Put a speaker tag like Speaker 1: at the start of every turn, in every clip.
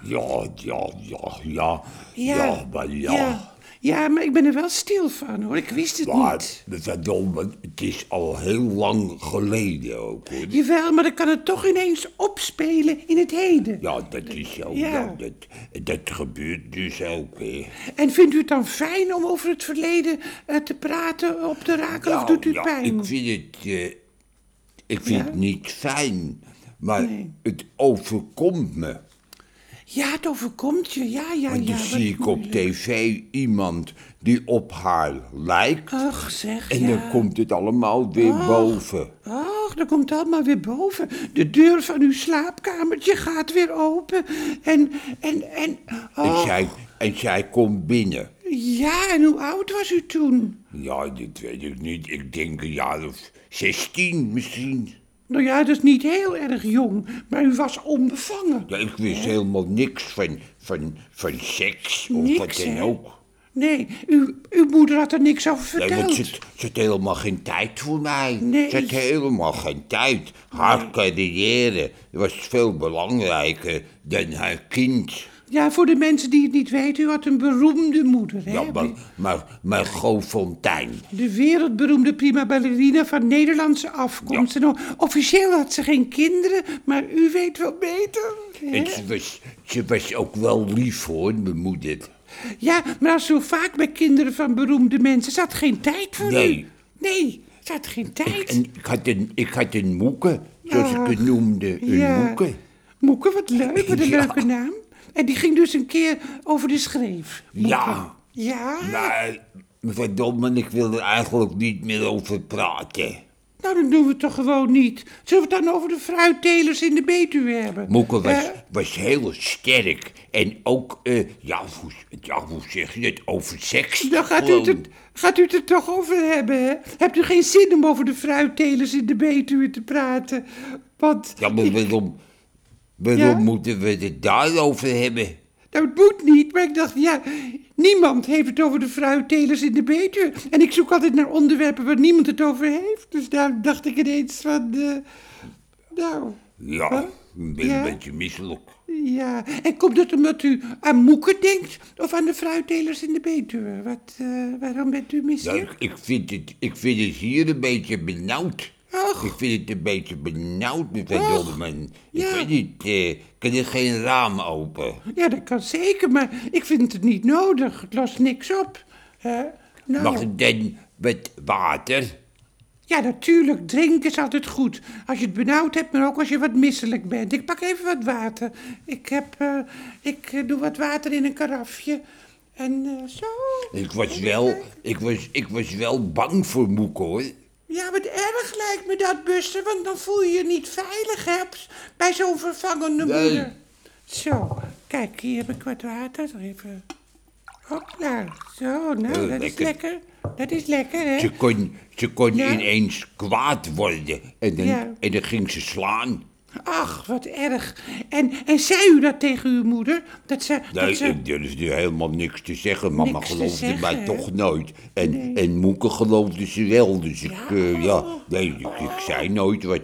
Speaker 1: ja, ja, ja.
Speaker 2: Ja,
Speaker 1: Ja, maar ja.
Speaker 2: ja. Ja, maar ik ben er wel stil van, hoor. Ik wist het
Speaker 1: Maar,
Speaker 2: niet.
Speaker 1: verdomme, het is al heel lang geleden ook, hoor.
Speaker 2: Jawel, maar dan kan het toch ineens opspelen in het heden.
Speaker 1: Ja, dat is zo.
Speaker 2: Ja.
Speaker 1: Ja, dat, dat gebeurt dus ook, hè.
Speaker 2: En vindt u het dan fijn om over het verleden eh, te praten op de rakel, of
Speaker 1: Nou,
Speaker 2: doet u het
Speaker 1: ja,
Speaker 2: pijn?
Speaker 1: Ik vind het, eh, ik vind
Speaker 2: Ja?
Speaker 1: het niet fijn, maar
Speaker 2: Nee.
Speaker 1: het overkomt me.
Speaker 2: Ja, het overkomt je, ja, ja,
Speaker 1: Want
Speaker 2: ja.
Speaker 1: dan
Speaker 2: wat
Speaker 1: zie ik op
Speaker 2: moeilijk.
Speaker 1: tv iemand die op haar lijkt
Speaker 2: Ach, zeg,
Speaker 1: en
Speaker 2: ja. Oh.
Speaker 1: dan komt het allemaal weer boven.
Speaker 2: Ach, dan komt allemaal weer boven. De deur van uw slaapkamertje gaat weer open. En, en, en...
Speaker 1: En,
Speaker 2: Oh,
Speaker 1: zij, en zij komt binnen.
Speaker 2: ja, en hoe oud was u toen?
Speaker 1: Ja, dat weet ik niet. Ik denk een jaar of zestien misschien.
Speaker 2: Nou ja, dat is niet heel erg jong, maar u was onbevangen.
Speaker 1: Ja, ik wist helemaal niks van, van, van seks of Oh, wat
Speaker 2: niks,
Speaker 1: dan
Speaker 2: hè?
Speaker 1: ook.
Speaker 2: Nee, uw, uw moeder had er niks over
Speaker 1: Nee, want
Speaker 2: verteld.
Speaker 1: ze, ze had helemaal geen tijd voor mij.
Speaker 2: Nee.
Speaker 1: Ze had helemaal geen tijd. Haar carrière was veel belangrijker dan haar kind.
Speaker 2: Ja, voor de mensen die het niet weten, u had een beroemde moeder, hè?
Speaker 1: Ja, maar, maar, maar Go Fontijn.
Speaker 2: De wereldberoemde prima ballerina van Nederlandse afkomst. En o- officieel had ze geen kinderen, maar u weet wel beter. hè?
Speaker 1: En ze was, ze was ook wel lief hoor, mijn moeder.
Speaker 2: Ja, maar als zo vaak bij kinderen van beroemde mensen, zat geen tijd voor u.
Speaker 1: Nee.
Speaker 2: Nee, zat geen tijd.
Speaker 1: En ik had een, ik had een moeke, zoals ik het noemde. Een moeke.
Speaker 2: Moeke, wat leuk, wat een
Speaker 1: Ja.
Speaker 2: leuke naam. En die ging dus een keer over de schreef.
Speaker 1: Ja,
Speaker 2: Ja?
Speaker 1: maar Nou, verdomme, ik wil er eigenlijk niet meer over praten.
Speaker 2: Nou, dan doen we het toch gewoon niet. Zullen we het dan over de fruittelers in de Betuwe hebben?
Speaker 1: Moeke was,
Speaker 2: Eh,
Speaker 1: was heel sterk en ook, eh, ja, hoe, ja, hoe zeg je het, over seks.
Speaker 2: Dan gaat u,
Speaker 1: gewoon.
Speaker 2: het, er- gaat u het er toch over hebben, hè? Hebt u geen zin om over de fruittelers in de Betuwe te praten? Want,
Speaker 1: Ja, maar waarom, waarom
Speaker 2: Ja?
Speaker 1: moeten we het daarover hebben?
Speaker 2: nou, het moet niet, maar ik dacht, ja, niemand heeft het over de fruittelers in de Betuwe. En ik zoek altijd naar onderwerpen waar niemand het over heeft. Dus daar dacht ik ineens van, eh, nou,
Speaker 1: Ja, ik ben
Speaker 2: Ja?
Speaker 1: een beetje misselijk.
Speaker 2: ja. En komt dat omdat u aan Moeken denkt of aan de fruittelers in de Betuwe? Wat, eh, waarom bent u
Speaker 1: Ja,
Speaker 2: misselijk?
Speaker 1: ik, ik, vind het, ik vind het hier een beetje benauwd.
Speaker 2: Ach.
Speaker 1: Ik vind het een beetje benauwd, mevrouw Dolman. Ik
Speaker 2: Ja.
Speaker 1: weet niet, eh, kan er geen raam open?
Speaker 2: Ja, dat kan zeker, maar ik vind het niet nodig. Het lost niks op. hè? nou,
Speaker 1: Mag ik dan met water?
Speaker 2: Ja, natuurlijk. Drinken is altijd goed. Als je het benauwd hebt, maar ook als je wat misselijk bent. Ik pak even wat water. Ik, heb, eh, ik eh, doe wat water in een karafje. En eh, zo.
Speaker 1: Ik was wel, ik was, ik was wel bang voor Moek hoor.
Speaker 2: Ja, wat erg lijkt me dat, Buster. Want dan voel je je niet veilig hebt bij zo'n vervangende
Speaker 1: Nee.
Speaker 2: moeder. Zo, kijk, hier heb ik wat water. Zal Even. Hop, nou, zo, nou, dat
Speaker 1: Heel
Speaker 2: is
Speaker 1: Eh, lekker.
Speaker 2: lekker. Dat is lekker, hè?
Speaker 1: Ze kon, ze kon
Speaker 2: Ja.
Speaker 1: ineens kwaad worden en dan,
Speaker 2: Ja.
Speaker 1: en dan ging ze slaan.
Speaker 2: Ach, wat erg. En, en zei u dat tegen uw moeder? Dat ze,
Speaker 1: Nee,
Speaker 2: dat ze...
Speaker 1: ik durfde helemaal niks te zeggen. Mama
Speaker 2: Niks te
Speaker 1: geloofde mij
Speaker 2: zeggen, hè?
Speaker 1: toch nooit. En, en Moeke geloofde ze wel. Dus ik, eh, ja, nee, ik, ik zei nooit wat.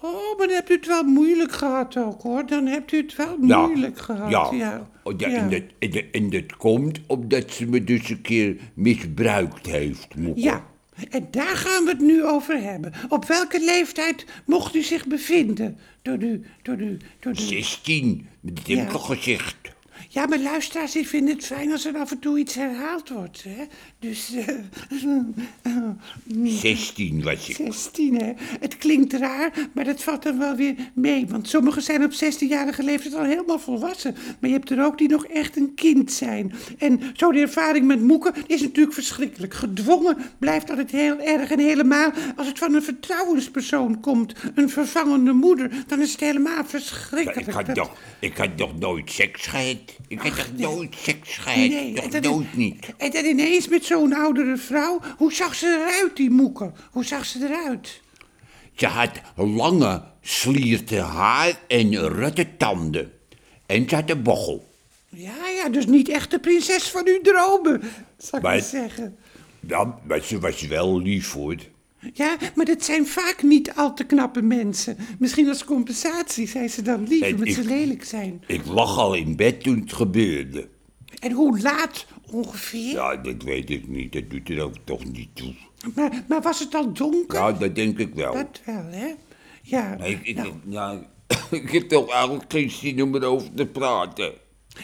Speaker 2: Oh, maar dan hebt u het wel moeilijk gehad ook, hoor. Dan hebt u het wel
Speaker 1: Ja,
Speaker 2: moeilijk gehad.
Speaker 1: Ja.
Speaker 2: ja.
Speaker 1: Oh, ja, En, dat, en, dat- en dat komt omdat ze me dus een keer misbruikt heeft, Moeke.
Speaker 2: Ja, en daar gaan we het nu over hebben. Op welke leeftijd mocht u zich bevinden? Door u, door u, door u.
Speaker 1: 16, dat heb
Speaker 2: Ja.
Speaker 1: ik toch gezegd.
Speaker 2: Ja, maar luisteraars, ik vind het fijn als er af en toe iets herhaald wordt, hè. Dus, eh
Speaker 1: 16 was ik.
Speaker 2: 16, hè? Het klinkt raar, maar dat valt dan wel weer mee. Want sommigen zijn op 16-jarige leeftijd al helemaal volwassen. Maar je hebt er ook die nog echt een kind zijn. En zo de ervaring met moeken is natuurlijk verschrikkelijk. Gedwongen blijft altijd heel erg. En helemaal als het van een vertrouwenspersoon komt, een vervangende moeder, dan is het helemaal
Speaker 1: Ja,
Speaker 2: verschrikkelijk.
Speaker 1: ik, had
Speaker 2: Dat-
Speaker 1: nog, ik had nog nooit seks gehad. Ik had nog nooit seks gehad.
Speaker 2: Nee,
Speaker 1: nog
Speaker 2: dat is-
Speaker 1: nooit niet.
Speaker 2: En dan ineens met zo'n oudere vrouw, hoe zag ze eruit, die moeken? Hoe zag ze eruit?
Speaker 1: Ze had lange, slierte haar en rutte tanden. En ze had een bochel.
Speaker 2: Ja, ja, dus niet echt de prinses van uw dromen, zou
Speaker 1: Maar-
Speaker 2: ik maar zeggen.
Speaker 1: Ja, maar ze was wel lief, hoor.
Speaker 2: Ja, maar dat zijn vaak niet al te knappe mensen. Misschien als compensatie zijn ze dan lief
Speaker 1: En
Speaker 2: omdat
Speaker 1: ik-
Speaker 2: ze lelijk zijn.
Speaker 1: Ik lag al in bed toen het gebeurde.
Speaker 2: En hoe laat ongeveer?
Speaker 1: Ja, dat weet ik niet. Dat doet er ook toch niet toe.
Speaker 2: Maar, maar was het al donker?
Speaker 1: Ja, dat denk ik wel.
Speaker 2: Dat wel, hè? Ja.
Speaker 1: Nee, Ik, ik,
Speaker 2: nou,
Speaker 1: ja, ik heb toch eigenlijk geen zin om erover te praten.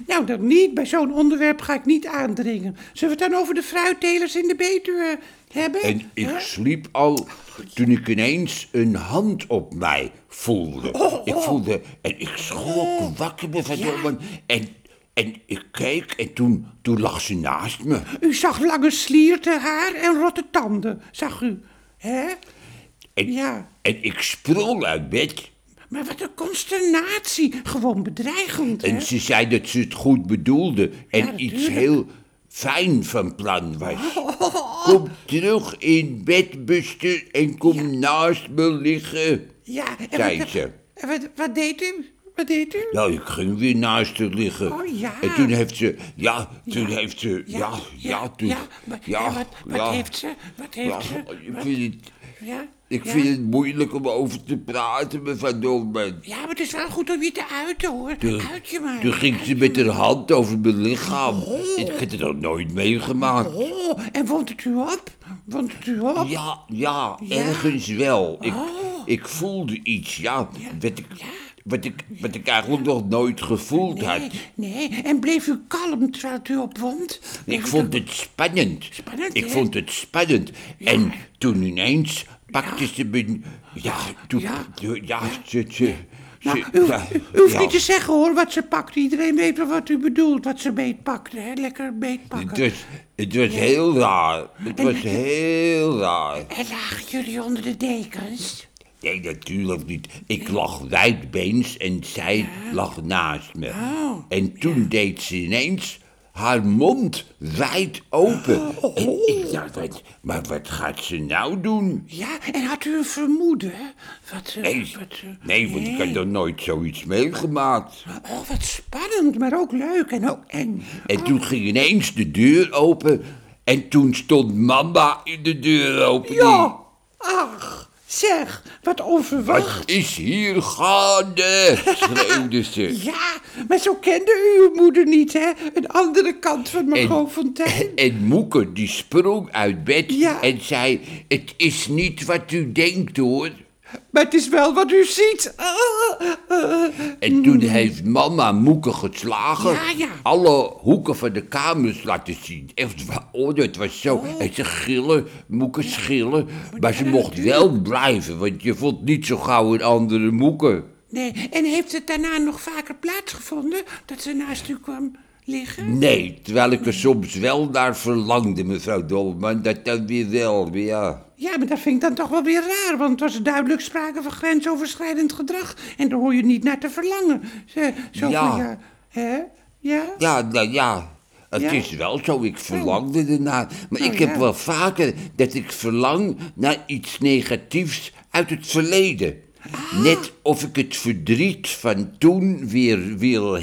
Speaker 2: nou, dan niet. Bij zo'n onderwerp ga ik niet aandringen. Zullen we het dan over de fruittelers in de Betuwe hebben?
Speaker 1: En ik
Speaker 2: Huh?
Speaker 1: sliep al toen ik ineens een hand op mij voelde.
Speaker 2: Oh,
Speaker 1: Ik voelde en ik schrok wakker me verdomme. En, en ik keek en toen, toen lag ze naast me.
Speaker 2: U zag lange slierten haar en rotte tanden, zag u. Hè?
Speaker 1: En,
Speaker 2: Ja.
Speaker 1: en ik sprong uit bed.
Speaker 2: Maar wat een consternatie. Gewoon bedreigend, hè?
Speaker 1: En ze zei dat ze het goed bedoelde en
Speaker 2: Ja,
Speaker 1: iets
Speaker 2: natuurlijk. Oh,
Speaker 1: heel fijn van plan was. Kom terug in bed, Buster, en kom naast me liggen.
Speaker 2: Ja, en
Speaker 1: zei
Speaker 2: wat,
Speaker 1: ze.
Speaker 2: en wat, wat deed u? Wat deed u?
Speaker 1: Nou, ik ging weer naast haar liggen.
Speaker 2: Oh, ja.
Speaker 1: En toen heeft ze, ja, toen heeft ze, ja, ja, toen,
Speaker 2: ja, maar- en wat, wat
Speaker 1: ja,
Speaker 2: heeft ze? Wat heeft
Speaker 1: ja, Oh,
Speaker 2: ze?
Speaker 1: ik
Speaker 2: Wat-
Speaker 1: vind het,
Speaker 2: ja,
Speaker 1: ik
Speaker 2: ja.
Speaker 1: vind het moeilijk om over te praten met Van Dolmen.
Speaker 2: Ja, maar het is wel goed om je te uiten, hoor. Uit je maar.
Speaker 1: Toen ging ze met haar hand over mijn lichaam. Ik heb het nog nooit meegemaakt.
Speaker 2: Oh, en wond het u op? Wond het u op?
Speaker 1: Ja, ja,
Speaker 2: Ja? Oh.
Speaker 1: ergens wel. Ik, ik voelde iets, ja, Wat, ik, wat, ik, wat ik eigenlijk nog nooit gevoeld had.
Speaker 2: Nee, nee, en bleef u kalm terwijl het u opwond?
Speaker 1: Ik vond het spannend.
Speaker 2: Spannend,
Speaker 1: ik
Speaker 2: hè?
Speaker 1: vond het spannend. En toen ineens pakte ze me... Ja, toen...
Speaker 2: Ja.
Speaker 1: Ja, ja, ze... ze,
Speaker 2: Nou,
Speaker 1: ze-
Speaker 2: u,
Speaker 1: ja,
Speaker 2: u hoeft
Speaker 1: ja.
Speaker 2: niet te zeggen hoor wat ze pakt. Iedereen weet wel wat u bedoelt, wat ze beetpakte. Hè? Lekker beetpakken.
Speaker 1: Het was, het was heel raar. Het was heel raar.
Speaker 2: En lagen jullie onder de dekens?
Speaker 1: Nee, natuurlijk niet. Ik lag wijdbeens en zij lag naast me. En toen deed ze ineens haar mond wijd open. En ik dacht, wat, maar wat gaat ze nou doen?
Speaker 2: Ja, en had u een vermoeden? hè? Wat, eh,
Speaker 1: Nee,
Speaker 2: wat, eh,
Speaker 1: nee want ik had nog nooit zoiets meegemaakt.
Speaker 2: Oh, wat spannend, maar ook leuk en ook eng.
Speaker 1: En toen ging ineens de deur open. En toen stond mama in de deur open.
Speaker 2: Ja, ach, zeg, wat onverwacht.
Speaker 1: Wat is hier gaande? schreeuwde ze.
Speaker 2: Ja, maar zo kende u uw moeder niet, hè? Een andere kant van Margot Fontein.
Speaker 1: En Moeke die sprong uit bed
Speaker 2: Ja.
Speaker 1: en zei: Het is niet wat u denkt hoor.
Speaker 2: Maar het is wel wat u ziet. Ah, eh,
Speaker 1: En toen heeft mama Moeke geslagen.
Speaker 2: Ja, ja.
Speaker 1: Alle hoeken van de kamers laten zien. Echt, wa- oh, dat was zo. En ze gillen, Moeke schillen. Maar ze mocht wel blijven, want je vond niet zo gauw een andere Moeke.
Speaker 2: Nee, en heeft het daarna nog vaker plaatsgevonden dat ze naast u kwam liggen?
Speaker 1: Nee, terwijl ik er soms wel naar verlangde, mevrouw Dolman. Dat dan weer wel, maar ja.
Speaker 2: Ja, maar dat vind ik dan toch wel weer raar, want het was duidelijk sprake van grensoverschrijdend gedrag. En daar hoor je niet naar te verlangen. Zo, zo
Speaker 1: Ja.
Speaker 2: van, ja. Hè? Ja?
Speaker 1: Ja, nou ja. Het
Speaker 2: Ja?
Speaker 1: is wel zo, ik verlangde ernaar. Maar
Speaker 2: Nou,
Speaker 1: ik heb
Speaker 2: ja.
Speaker 1: wel vaker dat ik verlang naar iets negatiefs uit het verleden.
Speaker 2: Ah.
Speaker 1: Net of ik het verdriet van toen weer wil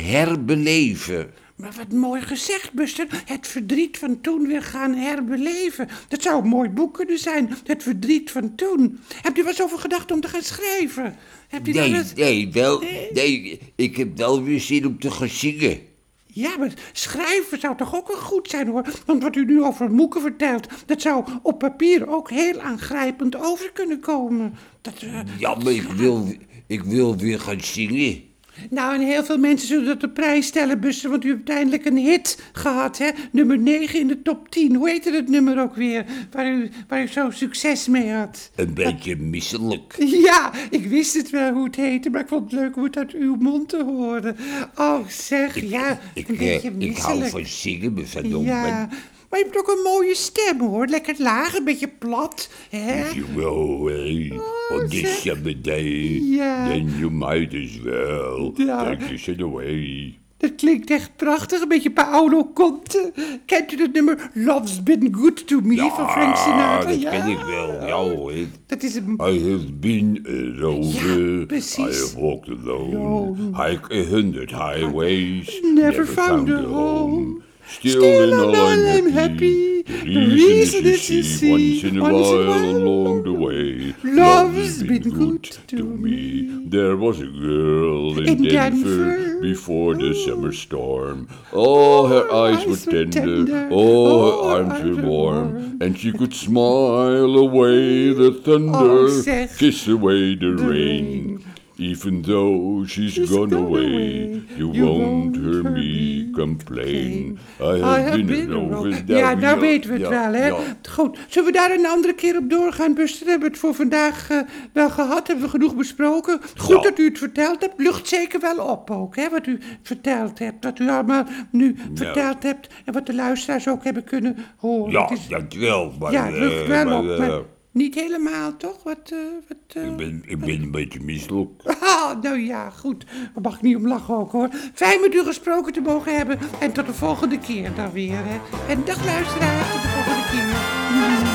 Speaker 1: herbeleven.
Speaker 2: Maar wat mooi gezegd, Buster. Het verdriet van toen weer gaan herbeleven. Dat zou een mooi boek kunnen zijn. Het verdriet van toen. Hebt u wel eens over gedacht om te gaan schrijven? Hebt u daar Eh.
Speaker 1: Nee,
Speaker 2: wel eens-
Speaker 1: nee, wel, nee, ik heb wel weer zin om te gaan zingen.
Speaker 2: Ja, maar schrijven zou toch ook wel goed zijn hoor. Want wat u nu over Moeken vertelt, dat zou op papier ook heel aangrijpend over kunnen komen. Dat, eh,
Speaker 1: Ja, maar ik wil, ik wil weer gaan zingen.
Speaker 2: Nou, en heel veel mensen zullen dat op prijs stellen, Buster, want u hebt uiteindelijk een hit gehad, hè? Nummer 9 in de top 10. Hoe heette het nummer ook weer? Waar u, waar u zo'n succes mee had.
Speaker 1: Een beetje misselijk.
Speaker 2: Ja, ik wist het wel hoe het heette, maar ik vond het leuk om het uit uw mond te horen. Oh, zeg, ja,
Speaker 1: Ik,
Speaker 2: een
Speaker 1: eh,
Speaker 2: beetje
Speaker 1: ik hou
Speaker 2: misselijk.
Speaker 1: van zingen, mevrouw Dolman.
Speaker 2: Ja, maar je hebt ook een mooie stem, hoor. Lekker laag, een beetje plat, hè?
Speaker 1: You go away on this
Speaker 2: zeg.
Speaker 1: summer day,
Speaker 2: Ja.
Speaker 1: then you might as well
Speaker 2: Ja.
Speaker 1: take this shit away.
Speaker 2: Dat klinkt echt prachtig, een beetje Paolo Conte. Kent u dat nummer Love's Been Good To Me van Oh,
Speaker 1: Ah,
Speaker 2: Frank Sinatra?
Speaker 1: dat ken ik wel. Ja, hoor.
Speaker 2: Dat is een...
Speaker 1: I have been a rover,
Speaker 2: Ja, precies.
Speaker 1: I have walked alone, hike a hundred highways,
Speaker 2: Never found a home.
Speaker 1: Still,
Speaker 2: Still
Speaker 1: in all
Speaker 2: alone
Speaker 1: I'm
Speaker 2: I'm happy.
Speaker 1: Reason is to see once in a while along the way.
Speaker 2: Love's been good to
Speaker 1: me. There was a girl in,
Speaker 2: In
Speaker 1: Denver,
Speaker 2: Denver.
Speaker 1: before the summer storm. Oh, her eyes were tender. Oh, her arms were warm. And she could smile away the thunder,
Speaker 2: Oh, zeg.
Speaker 1: kiss away the rain.
Speaker 2: rain.
Speaker 1: Even though she's, gone, away, you, won't hear me complain. I
Speaker 2: I
Speaker 1: have been
Speaker 2: have been
Speaker 1: over
Speaker 2: wrong. Ja, nou weten we het wel,
Speaker 1: eh?
Speaker 2: hè? Goed, zullen we daar een andere keer op doorgaan, Buster? Hebben we het voor vandaag eh, wel gehad? Hebben we genoeg besproken? Goed
Speaker 1: Ja.
Speaker 2: dat u het verteld hebt. Lucht zeker wel op ook, hè? Wat u verteld hebt. Wat u allemaal nu verteld hebt. En wat de luisteraars ook hebben kunnen horen.
Speaker 1: Ja,
Speaker 2: Het is-
Speaker 1: dat wel, maar...
Speaker 2: ja, het lucht wel
Speaker 1: eh,
Speaker 2: op.
Speaker 1: maar,
Speaker 2: maar
Speaker 1: eh,
Speaker 2: niet helemaal, toch? Wat, eh, wat, eh,
Speaker 1: ik, ben, ik ben een beetje misselijk.
Speaker 2: Ah, nou ja, goed. Daar mag ik niet om lachen ook hoor. Fijn met u gesproken te mogen hebben. En tot de volgende keer dan weer. Hè. En dag luisteraars, tot de volgende keer.